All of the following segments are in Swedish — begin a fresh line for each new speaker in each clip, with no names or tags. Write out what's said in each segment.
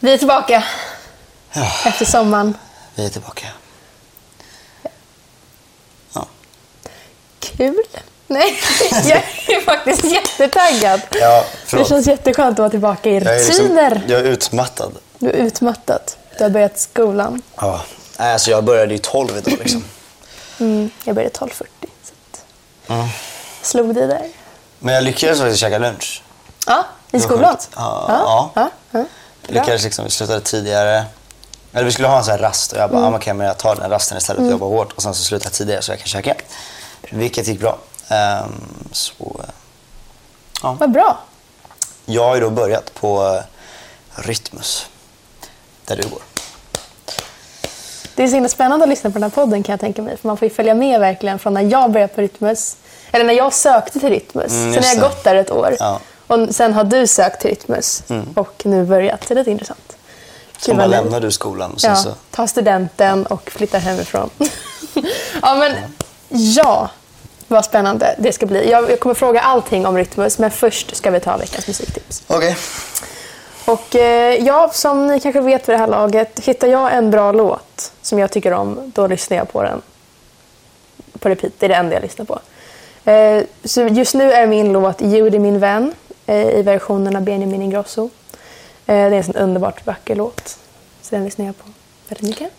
Vi är tillbaka
Ja,
efter sommaren.
vi är tillbaka. Ja.
Kul. Nej, jag är faktiskt jättetaggad.
Ja, förlåt.
det känns jätteskönt att vara tillbaka i
Jag är, liksom,
rutiner.
jag är utmattad.
Du är utmattad. Du har börjat skolan.
Ja. Nej, Alltså, jag började ju 12 idag. Liksom.
Mm, jag började 12.40. Så att... Slog dig där.
Men jag lyckades faktiskt käka lunch.
Ja, i
var
skolan.
skönt. Ja, ja.
ja,
Jag lyckades liksom, vi slutade tidigare. Eller vi skulle ha en sån här rast och jag
Mm.
bara, ah, men okej men jag tar den rasten istället och jobbar hårt och sen så slutar jag tidigare så jag kan käka. Vilket gick bra. Ehm, så, eh,
Vad bra.
jag har ju då börjat på eh, Rytmus, där du går.
Det är så himla spännande att lyssna på den här podden kan jag tänka mig. För man får ju följa med verkligen från när jag började på Rytmus. Eller när jag sökte till Rytmus.
Mm,
sen
just
har jag
det.
gått där ett år.
Ja.
Och sen har du sökt till Rytmus och nu börjat. Så det är lite intressant.
Så
Kul
bara
vad ni-
lämnar du skolan och sen
Ja,
så...
ta studenten och flytta hemifrån. ja, men ja. Vad spännande det ska bli. Jag, jag kommer fråga allting om Rytmus, men först ska vi ta veckans musiktips.
Okej.
Och eh, ja, som ni kanske vet vid det här laget, hittar jag en bra låt som jag tycker om, då lyssnar jag på den på repeat. Det är det enda jag lyssnar på. Eh, så just nu är min låt Ljud är min vän eh, i versionen av Benjamin Ingrosso. Eh, det är en sån underbart vacker låt. Så den lyssnar jag på väldigt mycket.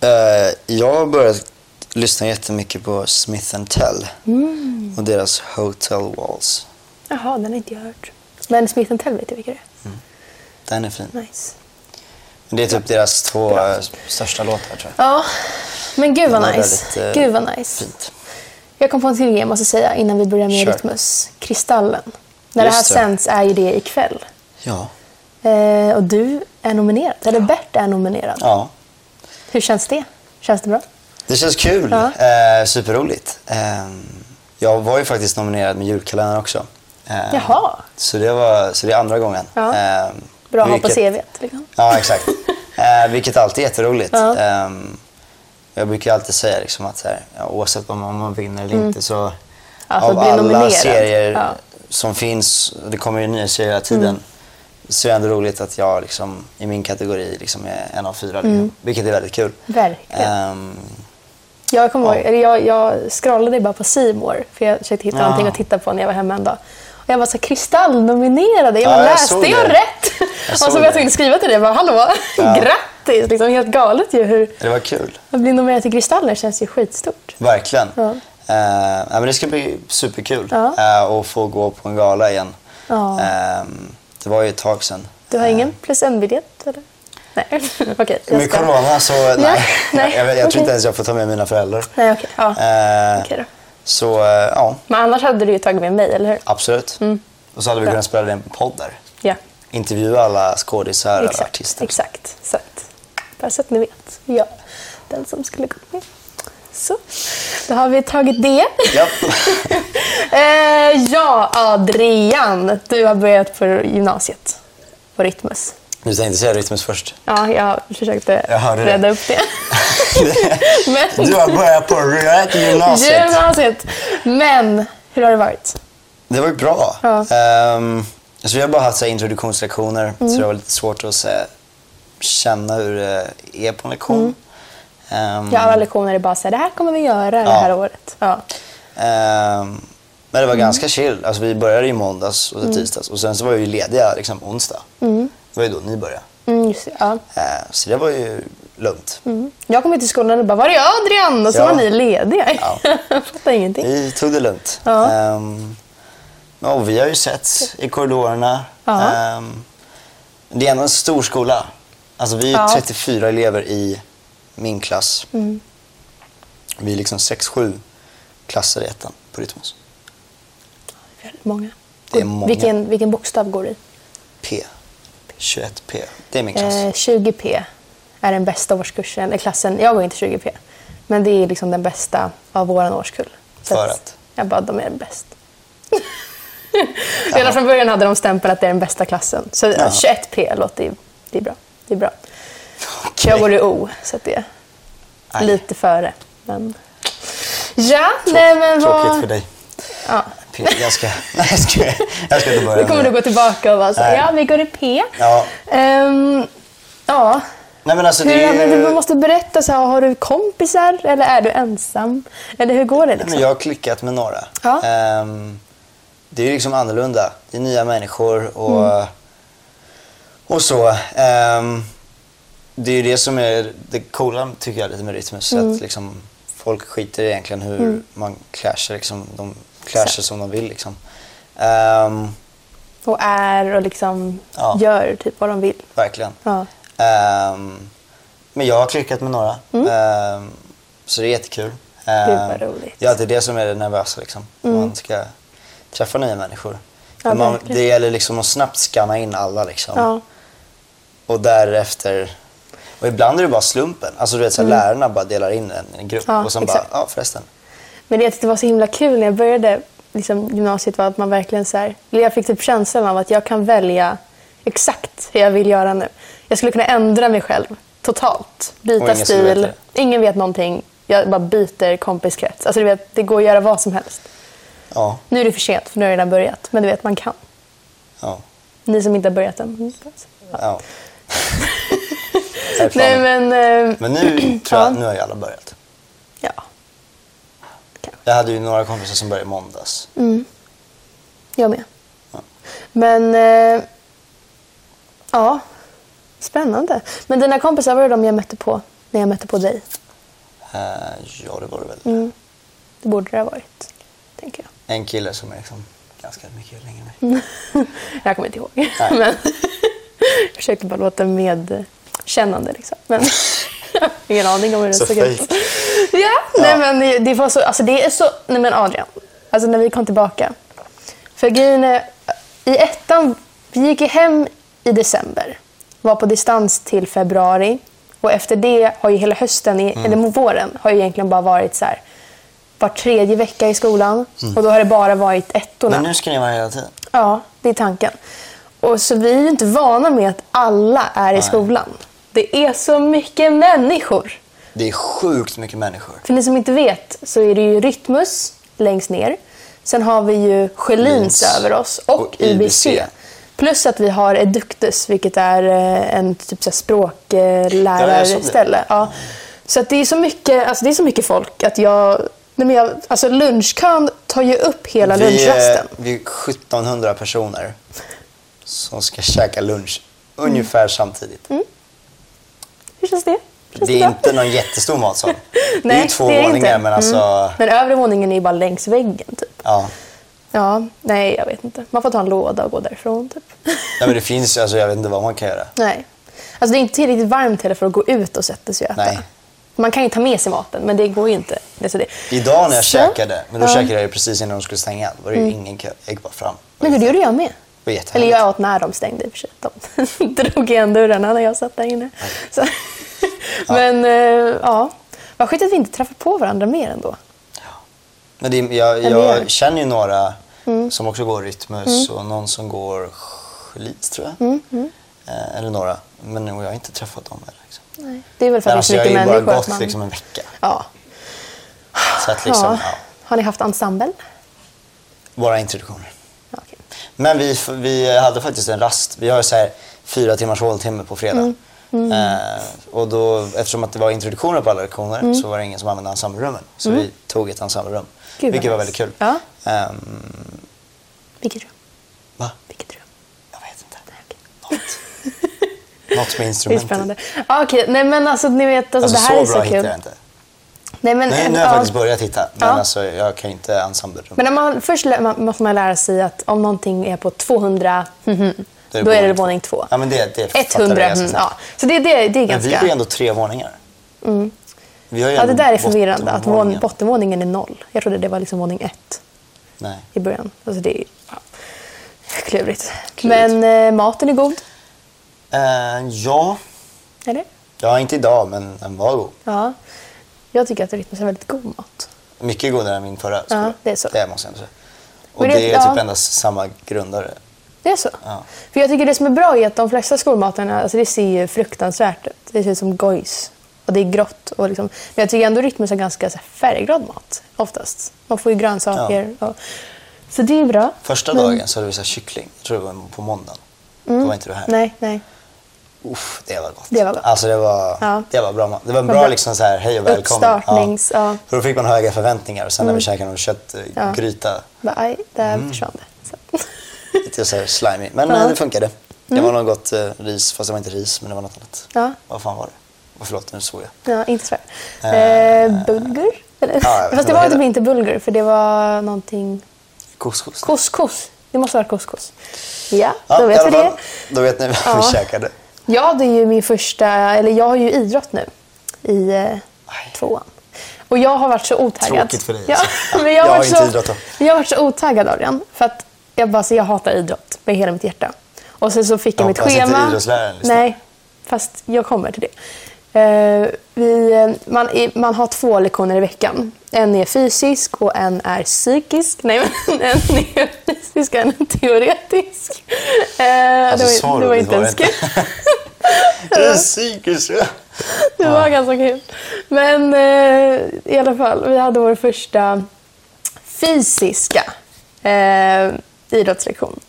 Eh, jag har börjat lyssna jättemycket på Smith Tell
Mm.
och deras Hotel Walls.
Jaha, den har inte jag hört. Men Smith Tell vet jag vilka det
Den är fin.
är. Nice.
Det är typ deras två eh, största låtar tror jag.
Ja, men gud vad
Den är
nice.
väldigt, eh,
gud vad nice.
Fint.
Jag kom på en till grej jag måste säga innan vi börjar med
Kör.
Rytmus. Kristallen. När det här
Just det.
sänds är ju det ikväll.
Ja.
Eh, och du är nominerad, eller Bert är nominerad.
ja.
Hur känns det? Känns det bra?
Det känns kul.
Ja.
Eh, superroligt. Eh, jag var ju faktiskt nominerad med julkalendern också. Eh,
Jaha.
Så det, var, så det är andra gången.
Ja.
Eh,
Bra att ha på
vilket-
CVt. Liksom.
Ja, exakt. Eh, vilket alltid är jätteroligt.
Ja.
Ehm, jag brukar alltid säga liksom att så här, ja, oavsett om man vinner eller inte så
Mm. att
av
bli
alla
nominerad.
serier
Ja. Mm.
som finns, och det kommer ju nya serier hela tiden, så är det ändå roligt att jag liksom, i min kategori liksom är en av fyra. Liksom, Vilket är väldigt kul.
Mm. Verkligen.
Ehm,
Jag, kommer ihåg,
Ja.
eller jag, jag scrollade bara på C More för jag försökte hitta
Ja.
någonting att titta på när jag var hemma en dag. Och jag var så här, kristallnominerade. Jag bara,
Ja, jag
läste
såg
jag
det.
rätt?
Jag
och
såg
så var jag
det.
tvungen att skriva till dig. Jag bara, hallå,
Ja.
grattis! Liksom, helt galet ju. Hur,
det var kul.
att bli nominerad till Kristaller känns ju skitstort.
Verkligen.
Ja.
Eh, ja, men det ska bli superkul
Ja.
eh, att få gå på en gala igen.
Ja.
Ehm, det var ju ett tag sedan.
Du har ingen plus en-biljett? eller? Nej, okej. jag
Eh. Med
ska-
corona så nej.
nej,
jag, jag, jag
okej.
tror inte ens jag får ta med mina föräldrar.
Nej, okej. Ja.
Eh,
Okej då.
Så eh, ja,
Men annars hade du ju tagit med mig, eller hur?
absolut.
Mm.
Och så hade vi kunnat spela den på podd där.
Ja,
Intervjua alla skådisar och
exakt.
artister.
Exakt. Så att, bara så att ni vet. Ja, den som skulle gå med. Så, då har vi tagit det.
Ja.
Eh, ja, Adrian. Du har börjat på gymnasiet. På Rytmus.
Du tänkte säga Rytmus först.
Ja, jag försökte
Jag hörde det.
rädda upp det. Men,
Du har börjat på rätt gymnasiet.
gymnasiet. Men, hur har det varit?
Det var ju bra.
Ja.
Ehm, alltså vi har bara haft så här introduktionslektioner så
Mm.
det var lite svårt att så här, känna hur det är på en lektion. Ehm,
Mm. Ja, alla lektioner är bara så här, det här kommer vi göra det här
Ja.
året. Ja.
Ehm, men
Mm.
det var ganska chill. Alltså, vi började i måndags och så tisdags och sen så var vi lediga liksom, onsdag. Det var ju då ni började.
Mm, just det, ja.
Ehm, så det var ju lugnt.
Mm. Jag kom hit till skolan och bara, var är Adrian? Och så
Ja.
var ni lediga.
Ja.
Jag fattar ingenting.
Vi tog det lugnt.
Ja.
Ehm, ja, och vi har ju sett i korridorerna.
Ja.
Ehm, det är ändå en stor skola. Alltså, vi är
Ja. Mm.
34 elever i min klass. Vi är liksom 6-7 klasser i ettan på Rytmus.
Väldigt många.
Det är många.
Vilken, vilken bokstav går det i?
P. 21P. Det är min klass.
Eh, 20P är den bästa årskursen, eller klassen. Jag går inte 20P. Men det är liksom den bästa av våran årskull. Så
För att?
Jag bara, de är bäst. Redan från början hade de stämpel att det är den bästa klassen. Så
Jaha.
21P låter ju... Det är bra. Det är bra.
Okej.
Jag går i O, så att det är
Aj.
lite före. Men... Ja, nej men vad...
Tråkigt för dig.
Ja.
P- Jag ska, nej, jag ska, jag ska inte börja
Nu kommer
med
du
det.
gå tillbaka och vara så
Nej.
ja vi går i P.
Ja.
Ehm, Ja.
Nej men alltså
Hur,
det är
men
ju...
du måste berätta, så här, har du kompisar eller är du ensam? Eller hur går det?
Nej,
Liksom?
men jag har klickat med några.
Ja.
Ehm, det är ju liksom annorlunda. Det är nya människor och,
Mm.
och så. Ehm, det är ju det som är det coola tycker jag lite med Rytmus.
Mm.
Att liksom, folk skiter i egentligen hur man clashar. Liksom, de clashar som de vill. Liksom. Ehm,
Och är och liksom
Ja.
gör typ vad de vill.
verkligen.
Ja.
Ehm, men jag har klickat med några. Ehm, så det är jättekul. Ehm,
Mm. Gud, vad roligt. Mm.
Ja, det är det som är det nervösa. Liksom. Man ska träffa nya människor.
Ja,
Men man,
verkligen.
det gäller liksom att snabbt scanna in alla. Liksom.
Ja.
Och därefter... Och ibland är det bara slumpen. Alltså, du vet, så här, Lärarna bara delar in en, en grupp
Mm. Ja,
och sen
exakt.
bara, ja förresten.
Men det, det var så himla kul när jag började liksom, gymnasiet var att man verkligen så här, eller jag fick typ känslan av att jag kan välja exakt hur jag vill göra nu. Jag skulle kunna ändra mig själv totalt. Byta
Och ingen skulle
stil.
veta
ingen vet någonting. Jag bara byter kompiskrets. Alltså, du vet, det går att göra vad som helst.
Ja,
Nu är det för sent för nu har det redan börjat. Men du vet, man kan.
ja,
Ni som inte har börjat
Mm.
än.
ja. Det är
Nej
planen.
men... eh,
Men nu tror jag,
Ja.
nu har ju alla börjat.
Ja.
Jag hade ju några kompisar som började i måndags.
Mm. Jag med.
Ja.
Men... Eh, ja. Spännande. Men dina kompisar var det de jag mötte på när jag mötte på dig?
Eh, ja, det var det väl.
Mm. Det borde det ha varit, tänker jag.
En kille som är liksom ganska mycket längre än mig.
Jag kommer inte ihåg.
Nej.
Men, jag försökte bara låta medkännande. Liksom. Men, ingen aning om hur det
Så
såg ut.
fejk.
Ja, Nej, men det, det var så, alltså det är så... Nej men Adrian, alltså när vi kom tillbaka. För grejen är, i ettan, vi gick ju hem i december. Var på distans till februari. Och efter det har ju hela hösten, i-
Mm.
eller våren, har ju egentligen bara varit så här var tredje vecka i skolan. Och då har det bara varit ettorna.
Mm. Men nu ska ni vara hela tiden.
Ja, det är tanken. Och så vi är ju inte vana med att alla är i skolan. Det är så mycket människor.
Det är sjukt mycket människor.
För ni som inte vet så är det ju Rytmus längst ner. Sen har vi ju Sjölins
Lins.
över oss och,
Och
IBC.
IBC.
Plus att vi har Eductus, vilket är eh, en typ så här
Ja, jag såg det.
språklärarställe. Ja. Så att det, är så mycket, alltså det är så mycket folk att jag... Nej men jag alltså lunchkön tar ju upp hela
Vi är,
lunchrasten.
vi är 1700 personer som ska käka lunch ungefär samtidigt.
Hur känns Mm, det? Känns
Det är
bra?
inte någon jättestor matsal. det är
Nej,
ju två
det är det
våningar
inte. Mm.
men alltså...
Men övre våningen är ju bara längs väggen. Typ.
Ja.
Ja, nej, jag vet inte. Man får ta en låda och gå därifrån. Typ.
Nej, men det finns ju, alltså, jag vet inte vad man kan göra.
nej. Alltså, det är inte tillräckligt varmt heller för att gå ut och sätta sig och äta.
Nej.
Man kan ju ta med sig maten, men det går ju inte. Det är så det.
Idag när jag
Så.
käkade, men då
Ja. Mm.
käkade jag ju precis innan de skulle stänga, då var det ju ingen kö. Jag gick bara fram.
Men gud, det gjorde jag med.
var
Eller
jättehärligt.
jag åt när de stängde i och för sig. De drog igen dörrarna när jag satt där inne. Så. Men eh, ja, vad skit att vi inte träffar på varandra mer ändå.
Men det, jag,
det gör det. Mm.
jag känner ju några som också går Rytmus och någon som går Schlitz tror jag.
Mm,
Eh, eller några. Men jag har inte träffat dem än. Liksom.
Nej. Det är väl för
Men
att
alltså,
det är
jag
så
har
mycket
ju bara
människor. att
gått
man...
liksom en vecka.
ja.
Så att liksom, ja.
ja. Har ni haft ensemble?
våra introduktioner.
Ja, okej.
Men vi, f- vi hade faktiskt en rast. Vi har så här fyra timmars håltimme på fredag.
Mm,
Eh, och då, eftersom att det var introduktioner på alla lektioner
Mm.
så var det ingen som använde ensemblerummen. Så vi tog ett ensemblerum.
Gud, vad
Vilket
nice.
var väldigt kul.
Ja.
Ehm,
Vilket rum?
va?
Vilket rum?
Jag vet inte.
Nej, okej.
Något. Något med
Det är
instrumentet.
spännande. Ja, okej, nej men alltså ni vet, alltså,
Alltså,
det här
så
är så
bra hittar
kul.
jag inte.
Nej, men,
Nu,
eh,
nu har jag
ja.
faktiskt börjat hitta, men
Ja.
alltså, jag kan ju inte ensemblerum.
Men när man, först lä- man, måste man lära sig att om någonting är på 200, mhm,
Då är det
då är det
våning två.
våning två.
Ja, men det, det fattar
100,
jag ganska
mm,
snabbt.
ja. Så det, det, det är
Men vi
ganska... Mm.
är ju ändå tre våningar. Vi har ju
ja, det
ändå
där är förvirrande, att vån,
bottenvåningen.
bottenvåningen är noll. Jag trodde det var liksom våning ett
Nej.
i början. Alltså det är ja, klurigt.
Klurigt.
Men eh, maten är god,
Eh, ja.
eller?
ja, inte idag, men den var god.
Ja. Jag tycker att Rytmus är väldigt god mat.
Mycket godare än min förra skola.
det är så.
Det måste jag ändå säga. Och
Men
det,
det-
är
ja.
typ endast samma grundare.
Det är så?
Ja.
För jag tycker det som är bra är att de flesta skolmaterna, alltså det ser ju fruktansvärt ut. Det ser ut som gojs. Och det är grått. Och liksom. Men jag tycker ändå Rytmus har ganska så här, färgglad mat oftast. Man får ju grönsaker. Och... Så det är bra. Mm.
Första dagen så hade vi så här kyckling, jag tror det var på måndagen. Då var inte du här.
Nej, nej.
Uff, det var gott.
Det var gott.
Alltså det var,
Ja.
det var bra mat. Det var en
Vad
bra,
bra.
liksom så här, hej och välkommen.
Uppstartnings- ja. Mm.
För då fick man höga förväntningar och sen när vi käkade någon
Ja.
köttgryta,
Bara, Aj, där
Mm.
försvann det. Så.
lite så här slimy. Men
Ja. Mm.
eh, det funkade. Det var något gott eh, ris, fast det var inte ris, men det var något annat.
Ja.
Vad fan var det? Oh, förlåt, nu såg jag.
Ja, inte sådär.
Eh,
Eh, bulgur? Eller?
ja, jag vet
Fast
inte
det
vad
var
det
typ
heter.
inte bulgur, för det var någonting...
Couscous.
Couscous. Det måste vara couscous. Ja,
Ja,
då
i
vet vi
alla
det.
fall, Då vet ni vad
Ja.
vi käkade.
Ja, det är ju min första... Eller jag har ju idrott nu i eh,
Aj.
tvåan. Och jag har varit så otaggad.
Tråkigt för dig,
Ja,
alltså.
men jag,
Jag
har
har
varit
inte
så,
idrott då.
Jag har varit så otaggad av den. För att jag bara, så jag hatar idrott med hela mitt hjärta. Och sen så fick jag
Jag
mitt
hoppas inte
schema.
idrottsläraren lyssnar.
Nej, fast jag kommer till det. Eh, vi, eh, man, är, man har två lektioner i veckan. En är fysisk och en är psykisk. Nej, men en är fysisk och en är teoretisk. Eh,
Alltså,
det var,
så
det var
roligt
inte
var
ens
det
kul.
inte. Det är psykiskt.
Det var ganska kul. Men eh, i alla fall, vi hade vår första fysiska eh, idrottslektion.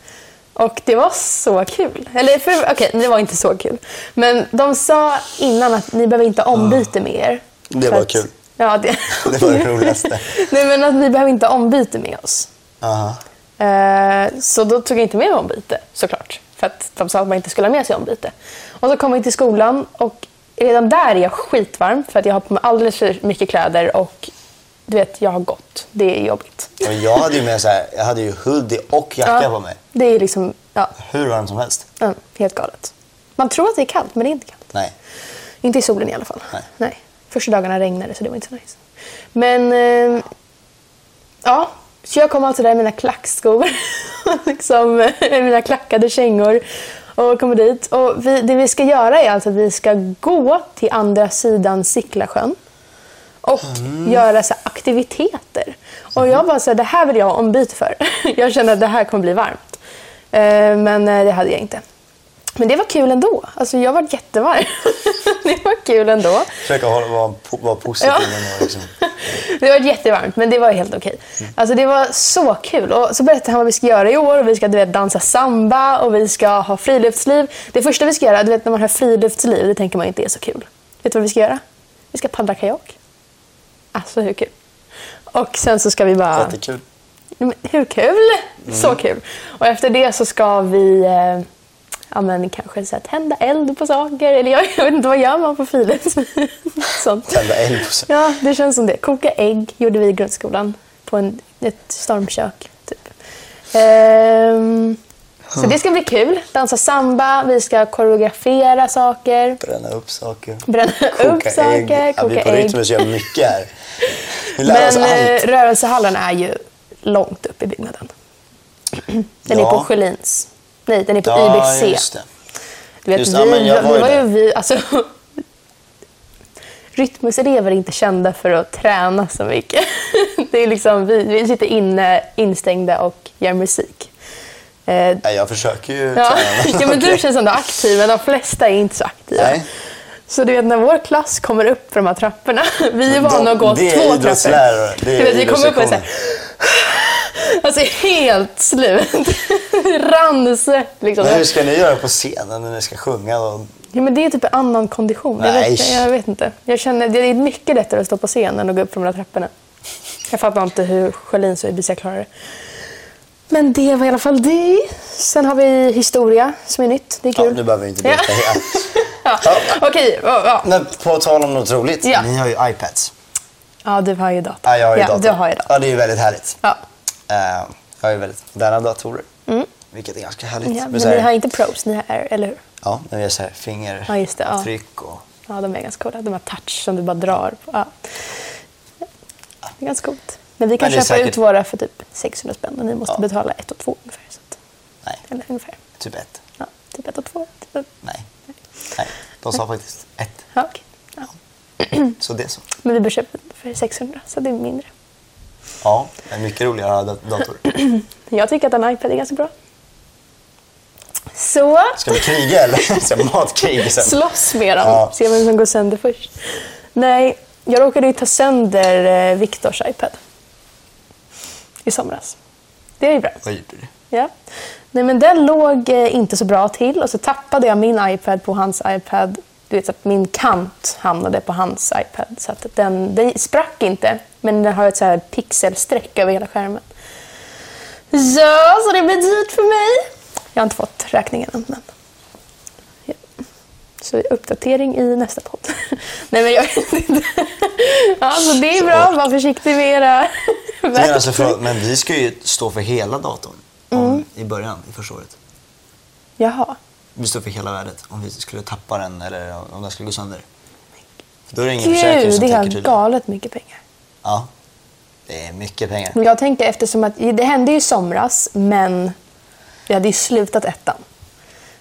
Och det var så kul. Eller för- okej, det var inte så kul. Men de sa innan att ni behöver inte ha ombyte med er.
Det
För
var
att-
kul.
Ja, det...
Det var det roligaste.
Nej, men att ni behöver inte ha ombyte med oss.
Aha.
Eh, Så då tog jag inte med mig ombyte såklart. För att de sa att man inte skulle ha med sig ombyte. Och så kom jag till skolan och redan där är jag skitvarm för att jag har på mig alldeles för mycket kläder och du vet, jag har gått. Det är jobbigt.
Och jag hade ju med så här, jag hade ju hoodie och jacka på mig.
Det är liksom, ja,
Hur varmt som helst.
mm, helt galet. Man tror att det är kallt, men det är inte kallt.
Nej.
Inte i solen i alla fall.
Nej.
Första dagarna regnade så det var inte så nice. Men, eh, ja. Så jag kom alltså där i mina klackskor. liksom, eh, mina klackade kängor. Och kommer dit. Och vi, det vi ska göra är alltså att vi ska gå till andra sidan Sicklasjön. Och göra så här aktiviteter. Och jag bara så här, det här vill jag ha ombyte för. jag kände att det här kommer bli varmt. Eh, men eh, det hade jag inte. Men det var kul ändå. Alltså jag var jättevarm. det var kul ändå.
Försöka hålla, vara, po- vara positiv.
Ja.
men vara Liksom.
Det var jättevarmt, men det var helt okej. Alltså det var så kul. Och så berättade han vad vi ska göra i år. Och vi ska du vet, dansa samba och vi ska ha friluftsliv. Det första vi ska göra, du vet när man hör friluftsliv, det tänker man inte är så kul. Vet du vad vi ska göra? Vi ska paddla kajak. Alltså hur kul? Och sen så ska vi bara...
Jättekul.
Men Hur kul! Så
Mm.
kul. Och efter det så ska vi eh, ja, men kanske så här, tända eld på saker. Eller jag, jag vet inte, vad gör man på friluftsliv? Sånt.
Tända eld på sig.
Ja, det känns som det. Koka ägg gjorde vi i grundskolan på en, ett stormkök. Typ. Ehm, så det ska bli kul. Dansa samba, vi ska koreografera saker,
Bränna upp saker.
bränna upp saker,
Ja, vi
koka
på
ägg.
Rytmus gör mycket här. Vi lär oss
Men eh,
allt.
rörelsehallen är ju långt upp i byggnaden. Den är
Ja.
på Sjölins. Nej, den är på
Ja,
IBC.
just det.
Du vet,
Just det,
vi,
ja, men jag var
vi
ju
var
där.
ju vi, alltså, Rytmuselever är inte kända för att träna så mycket. Det är liksom, vi, vi sitter inne, instängda och gör musik. Eh,
Nej, jag försöker ju
ja.
träna.
ja, men du
Okej.
känns ändå aktiv, men de flesta är inte så aktiva.
Nej.
Så du vet, när vår klass kommer upp för de här trapporna, vi är vana att gå
det är
två
idrottslärare.
trappor.
Det är
Du vet, vi kommer upp och är så här,
idrottslektioner.
alltså helt slut. Ransett liksom.
Men hur ska ni göra på scenen när ni ska sjunga? Och...
Ja, men det är typ en annan kondition. Jag
Nej.
vet, jag vet inte. Jag känner, det är mycket lättare att stå på scen än att gå upp för de där trapporna. Jag fattar inte hur Sjölins och Ibiza klarar det. Men det var i alla fall det. Sen har vi historia som är nytt. Det är
Ja,
kul.
nu behöver vi inte
Ja.
berätta. Ja.
Ja. Okej. ja, Ja.
Men på tal om något roligt,
Ja.
ni har ju iPads.
ja, du har ju dator.
Ja, jag har ju
ja,
dator.
Du har ju dator.
Ja, det är ju väldigt härligt.
Ja.
Eh, jag har ju väldigt moderna datorer, vilket är ganska härligt.
Mm. Ja,
men
men
så
ni
här,
har inte pros, ni har Air, eller hur?
Ja, men vi har så här
Ja, just det, ja.
fingeravtryck och...
Ja, de är ganska coola. De har touch som du bara drar på. Ja. Det är ganska coolt. Men vi kan
Men det är
köpa
säkert-
ut våra för typ 600 spänn och ni måste
Ja.
betala 1 och 2 ungefär. Så att,
Nej,
eller ungefär.
typ ett.
Ja, typ 1 och 2.
Nej. Nej, de sa faktiskt ett.
Ja, okej. ja. Mm.
Så det så.
Men vi bör köpa för 600 så det är mindre.
Ja, en mycket roligare att ha dat- dator.
Jag tycker att en iPad är ganska bra. Så,
Ska vi kriga eller? Så här matkrig sen.
slåss med dem.
Ja.
Se vem som går sönder först. Nej, jag råkade ju ta sönder eh, Viktors iPad i somras. Det är ju bra.
Vad gjorde du?
Ja. Nej, men den låg eh, inte så bra till och så tappade jag min iPad på hans iPad. Du vet, så att min kant hamnade på hans iPad. Så att den, den sprack inte, men den har ett så här pixelsträck över hela skärmen. Ja, så det blir dyrt för mig. Jag har inte fått räkningen än. Men... Ja. Så uppdatering i nästa podd. Nej, men jag vet inte. Ja, så det är bra. Var försiktig med era
Men, alltså,
verktyg.
förlåt, men vi ska ju stå för hela datorn
Mm.
om, i början, i första året.
Jaha.
Vi står för hela värdet om vi skulle tappa den eller om den skulle gå sönder. För då är det ingen försäkring som
det är
täcker
helt
tydligen.
galet mycket pengar.
Ja. Det är mycket pengar.
Men Jag tänker eftersom att det hände ju i somras, men vi hade ju slutat ettan.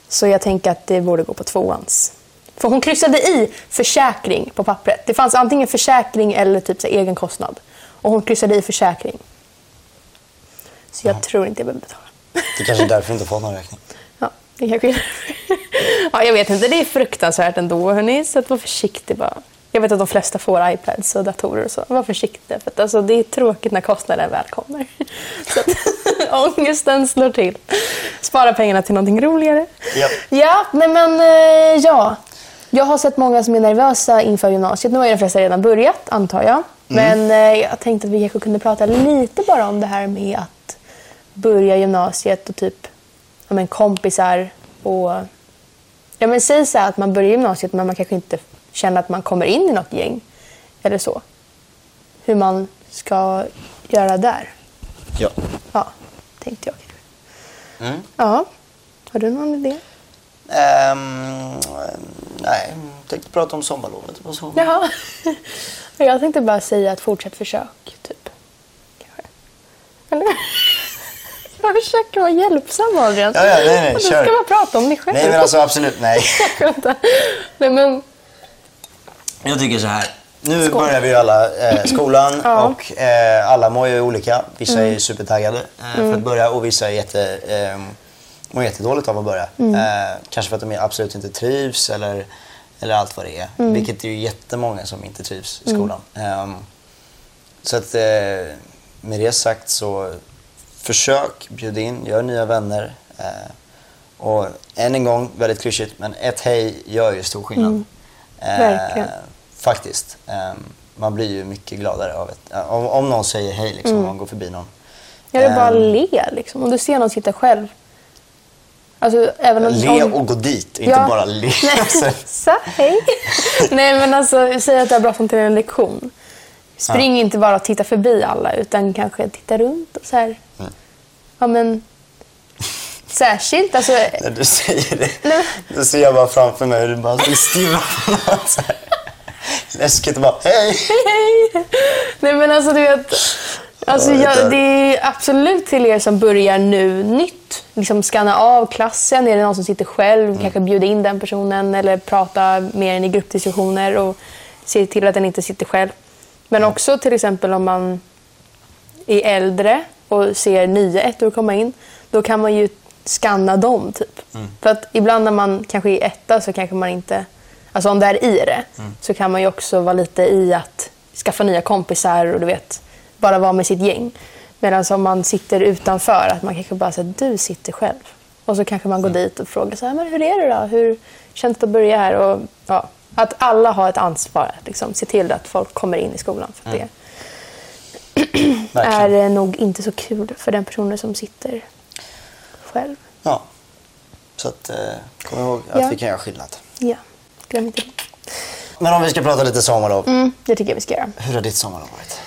Så jag tänker att det borde gå på tvåans. För hon kryssade i försäkring på pappret. Det fanns antingen försäkring eller typ så här egen kostnad. Och hon kryssade i försäkring. Så jag tror inte jag behöver betala.
Det kanske är därför vi inte har fått någon räkning.
Ja, det kanske är Ja, jag vet inte. Det är fruktansvärt ändå, hörni. Så att var försiktig bara. Jag vet att de flesta får iPads och datorer och så. Var försiktig, för att alltså, det är tråkigt när kostnaden väl kommer. Så att, ångesten slår till. Spara pengarna till någonting roligare.
Ja.
Ja, nej men eh, ja. Jag har sett många som är nervösa inför gymnasiet. Nu har ju de flesta redan börjat, antar jag. Men eh, jag tänkte att vi kanske kunde prata lite bara om det här med att börja gymnasiet och typ ja, men kompisar och... Ja, men säg så här att man börjar gymnasiet men man kanske inte känner att man kommer in i något gäng. Eller så. Hur man ska göra där.
Ja.
Ja, tänkte jag.
Mm.
Ja, har du någon idé?
Ehm, nej, jag tänkte prata om sommarlovet. Och så.
Jaha. Jag tänkte bara säga att fortsätt försök, typ. Kanske. Eller? Jag försöker vara hjälpsam, Adrian.
Ja, ja, nej, nej,
Du
kör.
ska bara prata om dig själv.
Nej men alltså absolut, nej.
Vänta. Nej, men...
Jag tycker så här. Nu
Skål.
börjar vi ju alla eh, skolan
Ja. Mm.
och eh, alla mår ju olika. Vissa är ju supertaggade eh, för att börja och vissa är jätte, eh, mår jättedåligt av att börja.
Mm.
Eh, kanske för att de absolut inte trivs eller, eller allt vad det är.
Mm.
Vilket är ju jättemånga som inte trivs i skolan. Ehm, så att eh, med det sagt så försök, bjud in, gör nya vänner. Eh, och än en gång, väldigt klyschigt, men ett hej gör ju stor skillnad. Eh,
Mm. Verkligen.
Faktiskt. Eh, man blir ju mycket gladare av ett, eh, om, om någon säger hej, liksom,
Mm.
om man går förbi någon.
Jag vill bara
Ehm,
le, liksom. Om du ser någon sitta själv. Alltså, även om...
Le
om...
och gå dit, inte
Ja.
bara le. Alltså,
Nej, så, hej. Nej, men alltså, säg att du har bråttom till en lektion. Spring inte bara och titta förbi alla, utan kanske titta runt och så här. Ja, men... Särskilt, alltså...
När du säger det, då ser jag bara framför mig hur du bara stirrar på någon. så här. Läskigt och bara hej.
Nej, men alltså du vet... Alltså,
Ja, det där.
jag, det är absolut till er som börjar nu nytt. Liksom skanna av klassen. Är det någon som sitter själv?
Mm.
Kanske bjuda in den personen eller prata med den i gruppdiskussioner och se till att den inte sitter själv. Men också till exempel om man är äldre och ser nya ettor komma in, då kan man ju skanna dem. typ. För att ibland när man kanske är etta så kanske man inte... Alltså om det är i det, så kan man ju också vara lite i att skaffa nya kompisar och du vet, bara vara med sitt gäng. Medan om man sitter utanför, att man kanske bara säger du sitter själv. Och så kanske man går dit och frågar så här, men hur är det då? Hur känns det att börja här? Och, ja, att alla har ett ansvar att liksom, se till att folk kommer in i skolan. För att det
Verkligen.
är eh, nog inte så kul för den personen som sitter själv.
Ja. Så att, eh, kom ihåg att
Ja.
vi kan göra skillnad.
Ja, glöm inte det.
Men om vi ska prata lite sommarlov.
Mm, det tycker jag vi ska göra.
Hur har ditt sommarlov varit?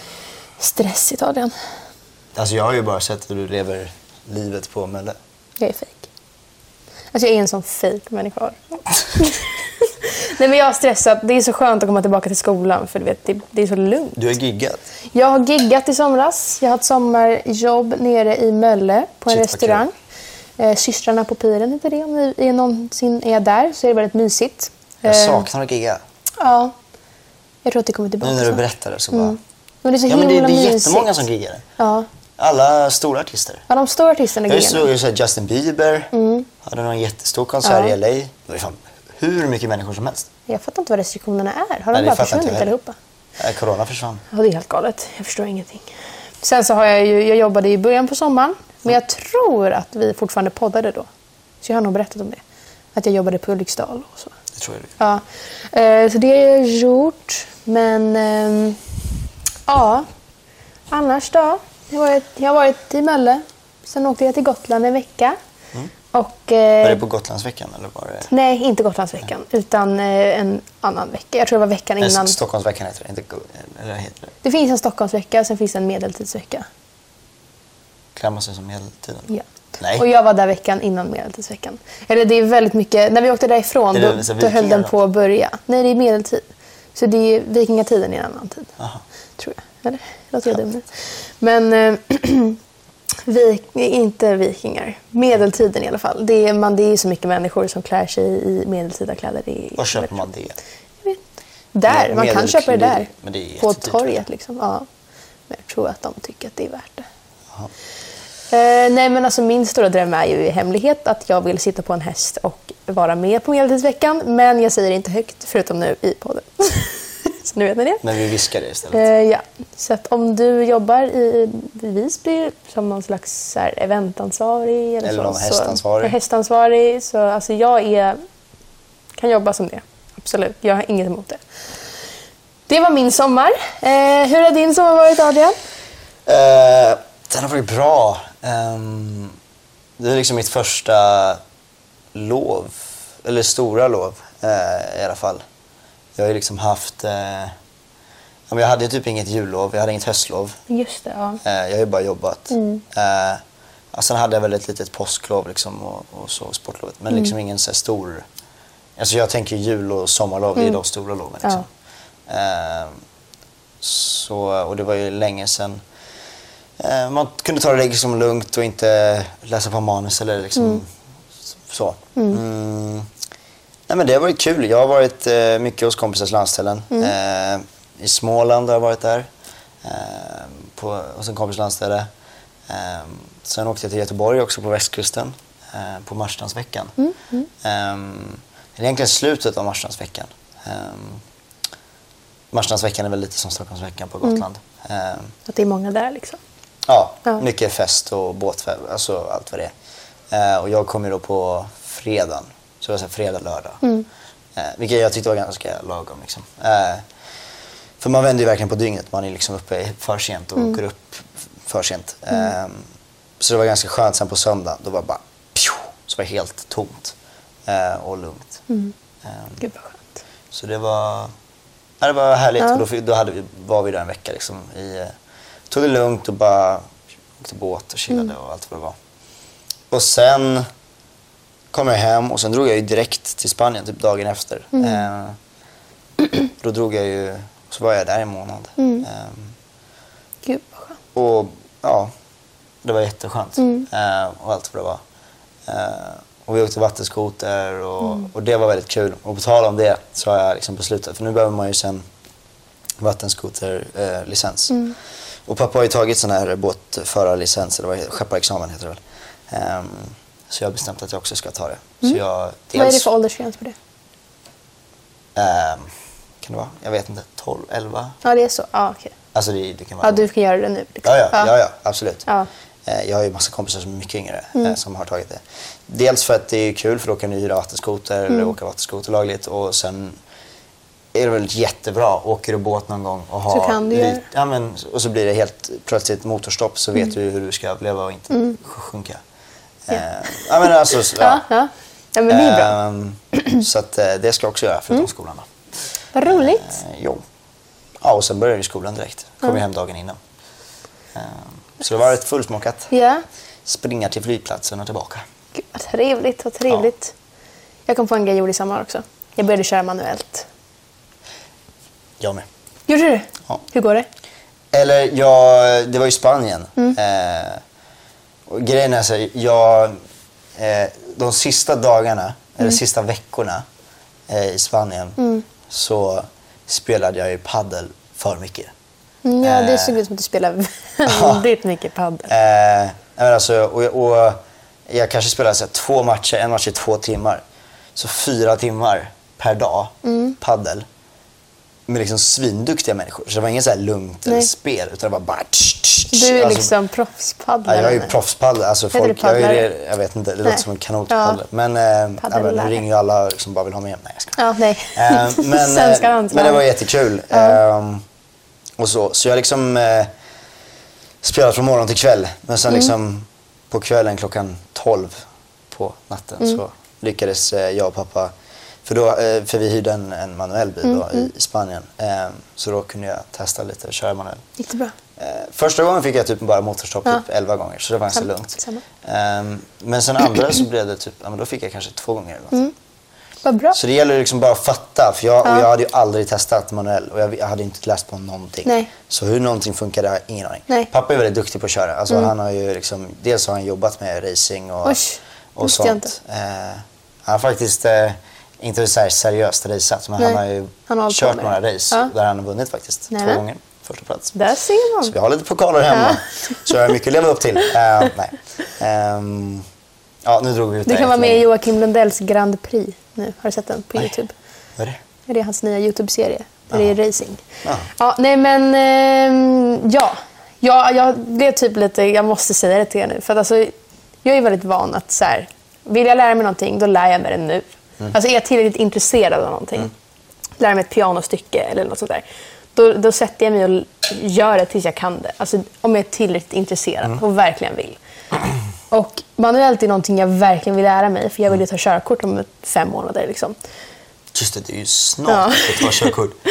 Stressigt Adrian.
Alltså jag har ju bara sett hur du lever livet på Mölle.
Jag är fejk. Alltså jag är en sån fejk människa. Nej men jag har stressat. Det är så skönt att komma tillbaka till skolan för du vet, det, det är så lugnt.
Du har giggat.
Jag har giggat i somras. Jag har ett sommarjobb nere i Mölle på en
Shit, vad
restaurang. Eh, Systrarna på piren heter det. Om ni är någonsin är där så är det väldigt mysigt.
Jag
Eh,
saknar att gigga.
Ja. Jag tror att det kommer tillbaka
Nu när du
snart.
berättar det så bara...
Men Mm. det är så
Ja
himla
men det, det är
mysigt.
jättemånga som giggar.
Ja.
Alla stora artister.
ja, de stora artisterna
Jag
giggar
såg
nu.
ju så här Justin Bieber. Hade någon jättestor konsert
Mm. Ja.
i LA. Det var ju fan hur mycket människor som helst.
Jag fattar inte vad restriktionerna är. Har de
det
bara
fattar inte jag
försvunnit
heller.
allihopa?
Eh, Corona försvann.
Ja, det är helt galet. Jag förstår ingenting. Sen så har jag ju, jag jobbade i början på sommaren Men jag tror att vi fortfarande poddade då. Så jag har nog berättat om det. Att jag jobbade på Ulriksdal och så.
Det tror jag det.
Ja. Eh, så det har jag gjort. Men ehm, ja, annars då? Jag har varit, jag har varit i Mölle. Sen åkte jag till Gotland en vecka. Och, eh,
Mm. Var det på Gotlandsveckan eller var det?
Nej, inte Gotlandsveckan. Utan eh, en annan vecka. Jag tror det var veckan
Nej,
innan.
Stockholmsveckan heter det. Inte, Go- eller heter det?
Det finns en Stockholmsvecka, sen finns det en medeltidsvecka.
Klamrar sig som medeltiden?
Ja.
Nej.
Och jag var där veckan innan medeltidsveckan. Eller det är väldigt mycket, när vi åkte därifrån
Är
då,
det så här
då höll den
vikingar
på att börja. Nej, det är medeltid. Så det är vikingatiden i en annan tid.
Aha.
Tror jag. Eller? Låter jag dum nu? Men eh, vi, inte vikingar. Medeltiden i alla fall. Det är, man, det är så mycket människor som klär sig i medeltida kläder. Det är-
Var köper man det?
Där, man kan
Medel-
köpa det där.
Men det är
på
jättedyrt, tror
torget
jag.
liksom. Ja. Men jag tror att de tycker att det är värt det.
Jaha.
Eh, nej men alltså min stora dröm är ju i hemlighet att jag vill sitta på en häst och vara med på Medeltidsveckan. Men jag säger det inte högt, förutom nu i podden. så nu vet ni det.
Men vi viskar det istället.
Eh, ja. Så att om du jobbar i i Visby som någon slags så här, eventansvarig eller, så,
Eller någon hästansvarig.
Så, Ja, hästansvarig. Så alltså jag är, kan jobba som det. Absolut, jag har inget emot det. Det var min sommar. Eh, hur har din sommar varit Adrian?
Eh, den har varit bra. Ehm, det är liksom mitt första lov, eller stora lov eh, i alla fall. Jag har ju liksom haft... eh, ja, men jag hade ju typ inget jullov, jag hade inget höstlov.
Just det, ja.
Eh, jag har ju bara jobbat. Mm. Eh, ja, sen hade jag väl ett litet påsklov liksom och, och så sportlovet. Men liksom ingen så här stor... Alltså jag tänker jul och sommarlov, det är de stora loven. Liksom. Eh, så, och det var ju länge sedan. Eh, man kunde ta det liksom lugnt och inte läsa på manus eller liksom så. Mm. Nej, men det har varit kul. Jag har varit eh, mycket hos kompisars landställen. Eh, I Småland har jag varit där. Eh, på, hos en kompis landställe. Eh, sen åkte jag till Göteborg också på västkusten. Eh, på Marstrandsveckan. Eh, det är egentligen slutet av Marstrandsveckan. Eh, Marstrandsveckan är väl lite som Stockholmsveckan på Gotland. Eh,
Att det är många där liksom.
Ja,
Ja.
mycket fest och båtfest, alltså allt vad det är. Eh, och jag kom ju då på fredagen, så det var så här fredag, lördag. Eh, vilket jag tyckte var ganska lagom. Liksom. Eh, för man vänder ju verkligen på dygnet, man är liksom uppe för sent och går upp för sent. Eh, så det var ganska skönt sen på söndag, då var det bara pju, så var det helt tomt eh, och lugnt.
Mm.
Eh,
Gud vad skönt.
så det var, ja, det var härligt.
Ja.
Och då, fick- då hade vi, var vi där en vecka. Liksom, i, eh, tog det lugnt och bara åkte båt och chillade och allt vad det var. Och sen kom jag hem och sen drog jag ju direkt till Spanien typ dagen efter. Eh, då drog jag ju, så var jag där i en månad. Eh,
Gud vad skönt.
och ja, det var jätteskönt.
Mm.
Eh, och allt vad det var. Eh, och vi åkte vattenskoter och,
Mm.
och det var väldigt kul. Och på tal om det så har jag liksom beslutat, för nu behöver man ju sen vattenskoterlicens. Eh, licens.
Mm.
Och pappa har ju tagit sån här båtförarlicens, eller vad heter- skepparexamen heter det väl. Ehm, så jag har bestämt att jag också ska ta det. alltså- Så jag,
Mm. Vad är det
dels-
för åldersgräns på det?
ehm, kan det vara? Jag vet inte, 12, 11?
Ja, det är så. Ja, okej.
Alltså det, det kan vara
Ja, du kan göra det nu. liksom.
Ja, ja, ja. ja absolut.
Ja. Mm.
Eh, Jag har ju massa kompisar som är mycket yngre eh, som har tagit det. Dels för att det är kul för då kan du hyra vattenskoter eller
Mm.
åka vattenskoter lagligt och sen är det väl jättebra. Åker du båt någon gång och har
Så kan du
lite-
göra.
ja, men, och så blir det helt plötsligt motorstopp så
Mm.
vet du hur du ska överleva och inte sjunka. Ja. ja, men alltså, så-
Ja, ja. ja, men det är bra. Mm.
Ehm, Så att, eh, det ska jag också göra förutom skolan. Då.
Vad roligt.
Eh, jo. Ja, och sen började ju skolan direkt. Kom ju hem dagen innan. Eh, så det var ett fullsmockat.
Ja.
Springa till flygplatsen och tillbaka.
Gud, vad trevligt, vad trevligt. Jag kom på en grej jag gjorde i sommar också. Jag började köra manuellt.
Jag med.
Gjorde du det?
Ja.
Hur går det?
Eller jag, det var ju Spanien. Eh, och grejen är så här, jag, eh, de sista dagarna, eller sista veckorna eh, i Spanien så spelade jag ju paddel för mycket.
Ja, det
Eh.
såg ut som att du spelade väldigt mycket padel.
Eh, nej, men alltså, och, jag- och jag kanske spelade så här, två matcher, en match i två timmar. Så fyra timmar per dag
Mm.
paddel med liksom svinduktiga människor. Så det var inget så här lugnt eller
Nej.
spel, utan det var bara tsch, tsch,
Du är
Alltså,
liksom
Ja,
proffspaddlare.
jag är ju
nu.
proffspaddlare. Alltså
Heter
folk,
det
jag, är ju
paddlare?
det, jag vet inte, det
Nej.
låter som en kanot
Ja.
paddlare. Men, eh, ja, men nu
Paddlare.
ringer ju alla och liksom bara vill ha med. Nej, jag skojar.
Ja, nej.
Eh, men, eh,
Svenskar antar
men det
jag.
var jättekul. Eh, och så. så jag har liksom eh, spelat från morgon till kväll. Men sen
Mm.
liksom på kvällen klockan 12 på natten
Mm.
så lyckades eh, jag och pappa, för, då, eh, för vi hyrde en, en manuell bil
Mm,
då, i, i Spanien. Eh, så då kunde jag testa lite och köra manuell.
Gick det bra?
Eh, Första gången fick jag typ bara motorstopp
Ja.
typ 11 gånger, så det var ganska
Samma-
lugnt.
samma.
Ehm, men sen andra så blev det typ, ja, men då fick jag kanske två gånger eller något.
Mm. Vad bra.
Så det gäller ju liksom bara att fatta, för jag, och
Ja.
jag hade ju aldrig testat manuell och jag, jag hade inte läst på någonting.
Nej.
Så hur någonting funkar, det har jag ingen aning.
Nej. Mm.
Pappa är väldigt duktig på att köra. Alltså, han har ju liksom, dels har han jobbat med racing och,
Oj, det
och
visste jag inte.
sånt. Eh, han har faktiskt eh, inte så här seriöst raceat, men
Nej.
han har ju
Han har hållit på
kört
med
några
det.
race
Ja.
där han har vunnit faktiskt.
Nej,
Två
men.
gånger, första plats.
Där ser man.
Så vi har lite pokaler hemma.
Ja.
Så jag har mycket att leva upp till. Eh, nej. Ehm, ja, nu drog vi ut
Du
det
kan
här
vara med i
jättelänge.
Joakim Lundells Grand Prix nu. Har du sett den på
Nej.
Youtube?
Vad är det?
Är det hans nya Youtube-serie? Där det är racing.
Ja.
Ja, nej men ehm, ja. ja. Jag blev typ lite, jag måste säga det till er nu. För att alltså, jag är väldigt van att så här, vill jag lära mig någonting, då lär jag mig det nu.
Mm.
Alltså är jag tillräckligt intresserad av någonting, lär mig ett pianostycke eller något sånt där. Då, då sätter jag mig och l- gör det tills jag kan det. Alltså om jag är tillräckligt intresserad
Mm.
och verkligen vill. Och manuellt är någonting jag verkligen vill lära mig, för jag vill ju ta körkort om fem månader. Liksom.
Just det, det är ju snart
Ja.
att ta körkort.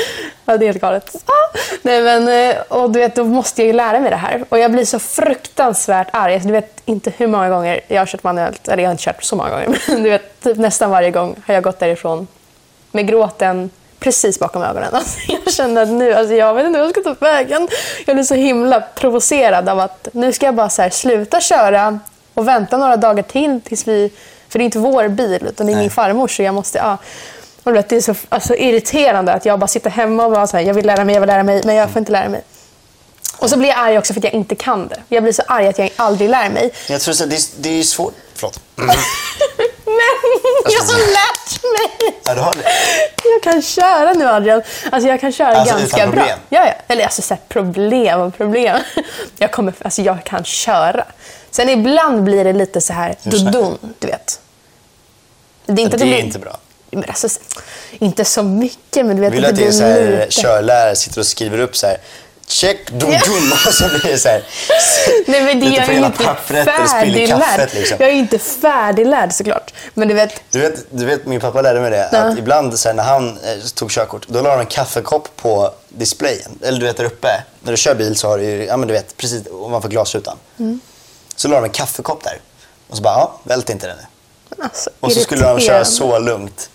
Ja, det är helt galet. Ah! Nej, men, eh, och du vet, då måste jag ju lära mig det här. Och jag blir så fruktansvärt arg. Alltså, du vet inte hur många gånger jag har kört manuellt. Eller jag har inte kört så många gånger, men du vet, typ nästan varje gång har jag gått därifrån med gråten precis bakom ögonen. Alltså, jag känner att nu, alltså, jag vet inte hur jag ska ta vägen. Jag blir så himla provocerad av att nu ska jag bara så här, sluta köra och vänta några dagar till tills vi... För det är inte vår bil, utan det är min farmor, så jag måste... Ja, och du vet, det är så alltså, irriterande att jag bara sitter hemma och bara så här, jag vill lära mig, jag vill lära mig, men jag får inte lära mig. Och så blir jag arg också för att jag inte kan det. Jag blir så arg att jag aldrig lär mig.
Jag tror så här, det, är, det är svårt. Förlåt.
Men jag har lärt mig!
Ja, du har det.
Jag kan köra nu, Adrian. Alltså, jag kan köra
Alltså,
ganska
utan
bra.
problem?
Ja, ja. Eller alltså, så här, problem och problem. Jag, kommer, alltså, jag kan köra. Sen ibland blir det lite så här
Hur snackar
dodon, du vet. Det är inte, att
Det är
blir-
inte bra.
Men alltså, inte så mycket, men du vet
Vill du
att
att din så här,
lite.
körlärare sitter och skriver upp så här Check, dum,
Ja.
dum och så blir det så här.
Nej men det,
Lite
jag
på
är ju
hela
inte
pappret och spiller
färdiglärd.
kaffet, liksom.
Jag är ju inte färdiglärd såklart. Men du vet,
Du vet, du vet, min pappa lärde mig det.
Ja.
Att ibland så här, när han eh, tog körkort, då la han en kaffekopp på displayen. Eller du vet, där uppe. När du kör bil så har du ju, ja men du vet, precis ovanför glasrutan.
Mm.
Så la de en kaffekopp där. Och så bara, ja, vält inte den nu.
alltså,
Och så skulle de köra
irriterande.
så lugnt.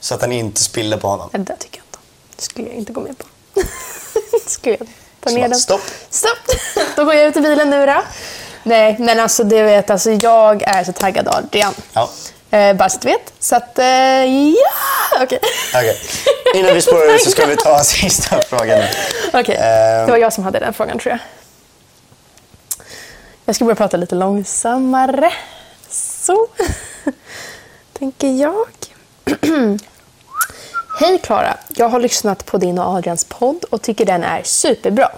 Så att han inte spiller på honom.
Nej, det där tycker jag inte. Det skulle jag inte gå med på. skulle jag ta
Så
ner
bara,
den.
stopp.
Stopp! Då går jag ut i bilen nu då. Nej, men alltså du vet, alltså, jag är så taggad Adrian.
Ja.
Eh, bara så att du vet. Så att, eh, ja! Okej.
Okej. Innan vi spårar ur så ska vi ta sista frågan.
Okej,
Ehm.
det var jag som hade den frågan tror jag. Jag ska börja prata lite långsammare. Så, tänker jag. Hej Klara! Jag har lyssnat på din och Adrians podd och tycker den är superbra.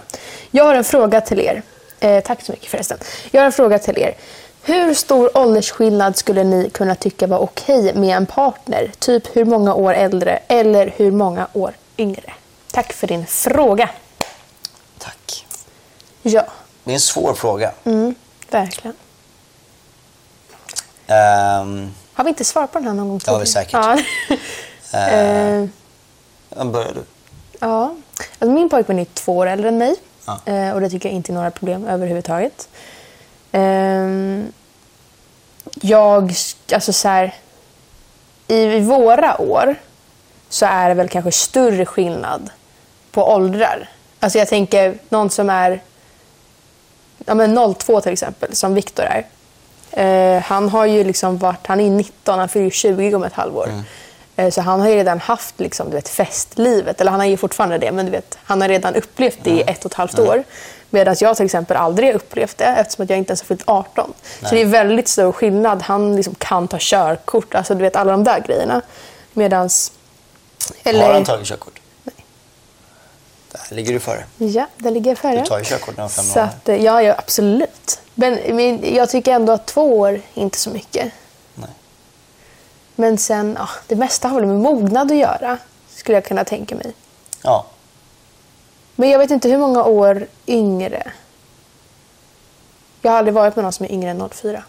Jag har en fråga till er. Eh, tack så mycket förresten. Jag har en fråga till er. Hur stor åldersskillnad skulle ni kunna tycka var okej med en partner? Typ hur många år äldre eller hur många år yngre? Tack för din fråga.
Tack.
Ja,
Det är en svår fråga.
verkligen.
Ehm,
Har vi inte svarat på den här någon gång
Det har vi
Ja. Eh,
Ja, börjar du?
Ja. Alltså min pojkvän är två år äldre än mig.
Ja.
Eh, och det tycker jag inte är några problem överhuvudtaget. Ehm, jag, sk- alltså så här, i våra år så är det väl kanske större skillnad på åldrar. Alltså jag tänker någon som är ja men 02 till exempel, som Viktor är. Eh, han har ju liksom varit, han är 19, han fyller ju 20 om ett halvår. Eh, så han har ju redan haft liksom, du vet, festlivet, eller han har ju fortfarande det, men du vet, han har redan upplevt det i ett och ett halvt år. Medan jag till exempel aldrig har upplevt det eftersom att jag inte ens har fyllt 18. Så det är väldigt stor skillnad. Han liksom kan ta körkort, alltså du vet alla de där grejerna. Medans...
Har han tagit körkort? Nej. Det ligger du före.
Ja, det ligger före.
Du tar ju körkort när du är fem
Så
år.
att, eh, ja, ja, absolut. Men, men jag tycker ändå att två år är inte så mycket.
Nej.
Men sen, ja, det mesta har väl med mognad att göra, skulle jag kunna tänka mig.
Ja.
Men jag vet inte hur många år yngre. Jag har aldrig varit med någon som är yngre än 04.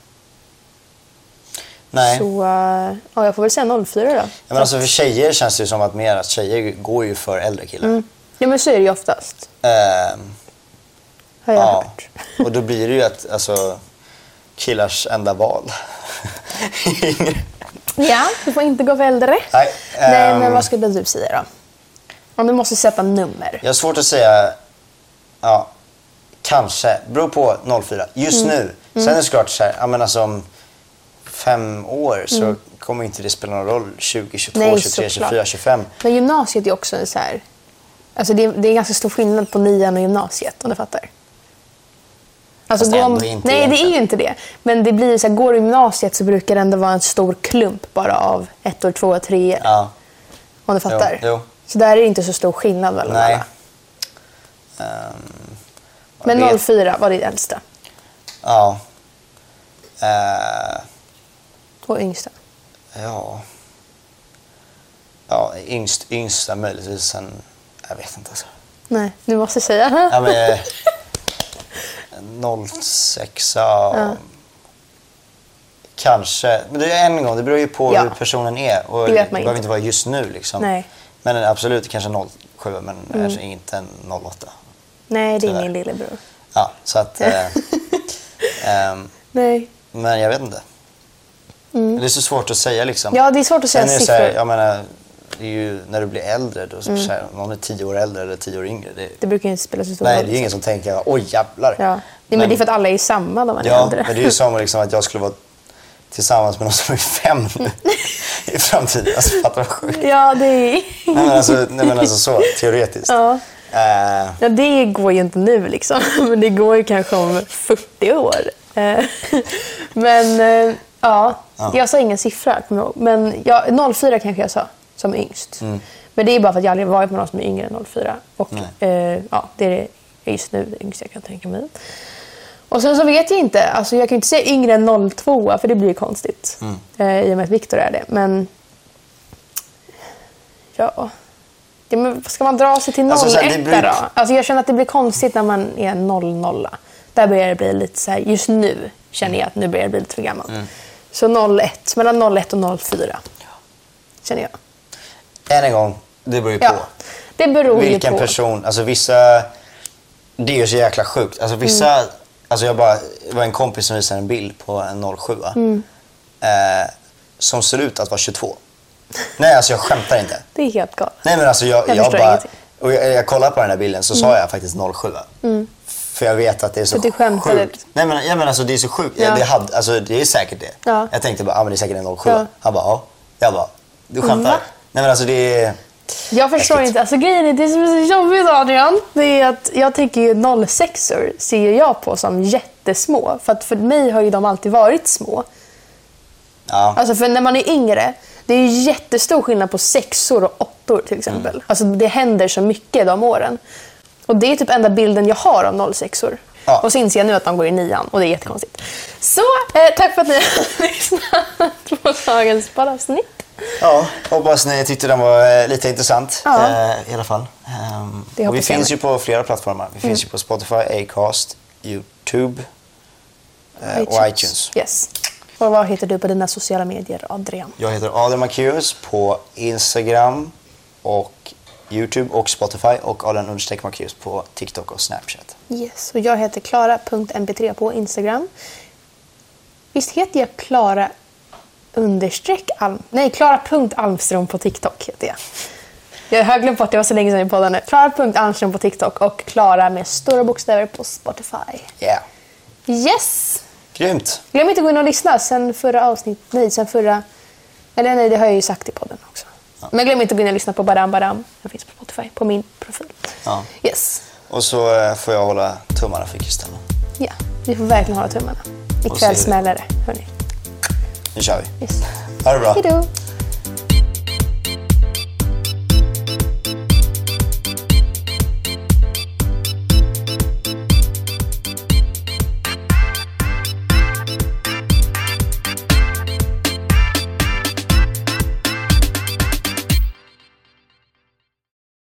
Nej.
Så eh, ja, jag får väl säga 04 då.
Ja, men alltså för tjejer känns det ju som att mer att tjejer går ju för äldre killar.
Ja, men så är det ju oftast,
Ehm,
har jag hört.
Och då blir det ju att, alltså, killars enda val.
Ja, du får inte gå för äldre.
Nej,
Nej,
ehm,
men vad skulle du säga då? Om du måste sätta nummer.
Jag har svårt att säga, ja, kanske. Beror på 04. Just
Mm.
nu. Sen är det såklart så här, ja, men alltså om fem år så kommer inte det spela någon roll. 20, 22,
Mm. Nej,
23, 24,
såklart.
25.
Men gymnasiet är också en så här... Alltså det, är, det är ganska stor skillnad på nian och gymnasiet, om du fattar. Alltså
Fast
går-
ändå inte
Nej, det är ju
egentligen.
inte det. Men det blir så här, går du gymnasiet så brukar det ändå vara en stor klump bara av ett år, två och tre
Ja,
Om du fattar.
jo.
Så där är det inte så stor skillnad mellan
nej.
alla.
Ehm, jag
Men
vet-
04 var det äldsta
Ja. Eh,
och yngsta.
Ja. Ja, yngst, yngsta möjligtvis. Sen, jag vet inte. Alltså.
Nej, nu måste jag säga.
Ja, men, eh, 06 ja. Kanske. Men det är en gång. Det beror ju på
Ja.
hur personen är. Och
Det vet man
behöver
inte.
inte vara just nu. Liksom.
Nej. Mm.
Men absolut, kanske 07, men kanske inte en 08.
Nej, det är
Tyvärr.
min lillebror.
Ja, så att... Eh, ehm,
Nej.
men jag vet inte. Det är så svårt att säga. Liksom.
Mm. Ja, det är svårt att säga
Sen är det så
siffror. Mm.
här, jag menar, det är ju när du blir äldre, då, så här, om någon är tio år äldre eller tio år yngre. Det,
Det brukar ju inte spela så stor
nej,
roll.
det är ju ingen som tänker oj jävlar.
Ja. Nej, men, det är för att alla är samma när man är
Ja,
äldre.
men det är ju som liksom, att jag skulle vara tillsammans med någon som är fem nu i framtiden. Alltså, fattar du vad sjukt?
Ja, det, är...
Nej, men alltså, nej, men alltså så, teoretiskt.
Ja.
Eh,
ja, det går ju inte nu liksom. Men det går ju kanske om 40 år. Eh, Men eh, ja, jag sa ingen siffra, kommer jag ihåg. Men jag, 04 kanske jag sa, som yngst. Men det är bara för att jag aldrig varit med någon som är yngre än 04. Och eh, ja, det är det just nu yngsta jag kan tänka mig. Och sen så vet jag inte. Alltså jag kan ju inte säga yngre än 02, för det blir ju konstigt. Eh, I och med att Viktor är det. Men ja... ja men ska man dra sig till 01
Alltså, så här, det blir-
då? Alltså jag känner att det blir konstigt när man är 00. Där börjar det bli lite så här, just nu känner jag att nu börjar det bli lite för gammalt.
Mm.
Så 01, mellan 01 och 04. Känner jag.
än en gång, det beror ju
Ja.
på.
Det beror
Vilken
ju på.
person, alltså vissa... Det är ju så jäkla sjukt. Alltså vissa...
Mm.
Alltså jag bara, det var en kompis som visade en bild på en 07
Mm.
eh, som ser ut att vara 22. Nej, alltså jag skämtar inte.
Det är helt galet.
Nej men alltså jag,
Jag
jag,
förstår
bara...
ingenting.
Och jag, jag kollade på den här bilden så sa jag faktiskt 07. För jag vet att det är så
För att Mm. du skämtade
sjukt.
liksom.
Nej men, ja, men alltså det är så sjukt. Ja.
Ja.
Det, hade, alltså, det är säkert det.
Ja.
Jag tänkte bara, ah, men det är säkert en 07.
Ja.
Han bara, ja. Jag bara, du skämtar?
Va?
Nej men alltså det är...
Jag förstår
Äckligt.
inte. Alltså, grejen är, det som är så jobbigt Adrian, det är att jag tänker ju 06 er ser ju jag på som jättesmå. För att för mig har ju de alltid varit små.
Ja.
Alltså för när man är yngre, det är ju jättestor skillnad på sexor och åttor
Mm.
till exempel. Alltså det händer så mycket de åren. Och det är typ enda bilden jag har av 06 er
Ja.
Och så inser jag nu att de går i nian och det är jättekonstigt. Så, eh, tack för att ni har lyssnat på dagens poddavsnitt.
Ja, hoppas ni tyckte den var eh, lite intressant
Ja.
eh, i alla fall. Ehm,
Det
och vi
hoppas jag
finns
med. Mm.
ju på flera plattformar. Vi finns ju på Spotify, Acast, YouTube eh, och iTunes.
Yes. Och vad heter du på dina sociala medier, Adrian?
Jag heter Adrian Marcus på Instagram och YouTube och Spotify och Adrian understreck Marcus på TikTok och Snapchat.
Yes, och jag heter klara.mp3 på Instagram. Visst heter jag Klara understreck Alm... Nej, Klara.almstrom på TikTok heter jag. Jag har glömt bort, det var så länge sedan jag poddade nu. Klara.almstrom på TikTok och Klara med stora bokstäver på Spotify.
Yeah.
Yes!
Grymt!
Glöm inte att gå in och lyssna sen förra avsnittet. Nej, sen förra... Eller nej, det har jag ju sagt i podden också. Men glöm inte att gå in och lyssna på Badam Badam. Den finns på Spotify, på min profil.
Ja.
Yes.
Och så eh, får jag hålla tummarna för Kristin.
Ja, vi får verkligen hålla tummarna.
Och så är
Ikväll
det.
smäller det, hörni.
Nu kör vi.
Yes.
Ha det bra!
Hejdå!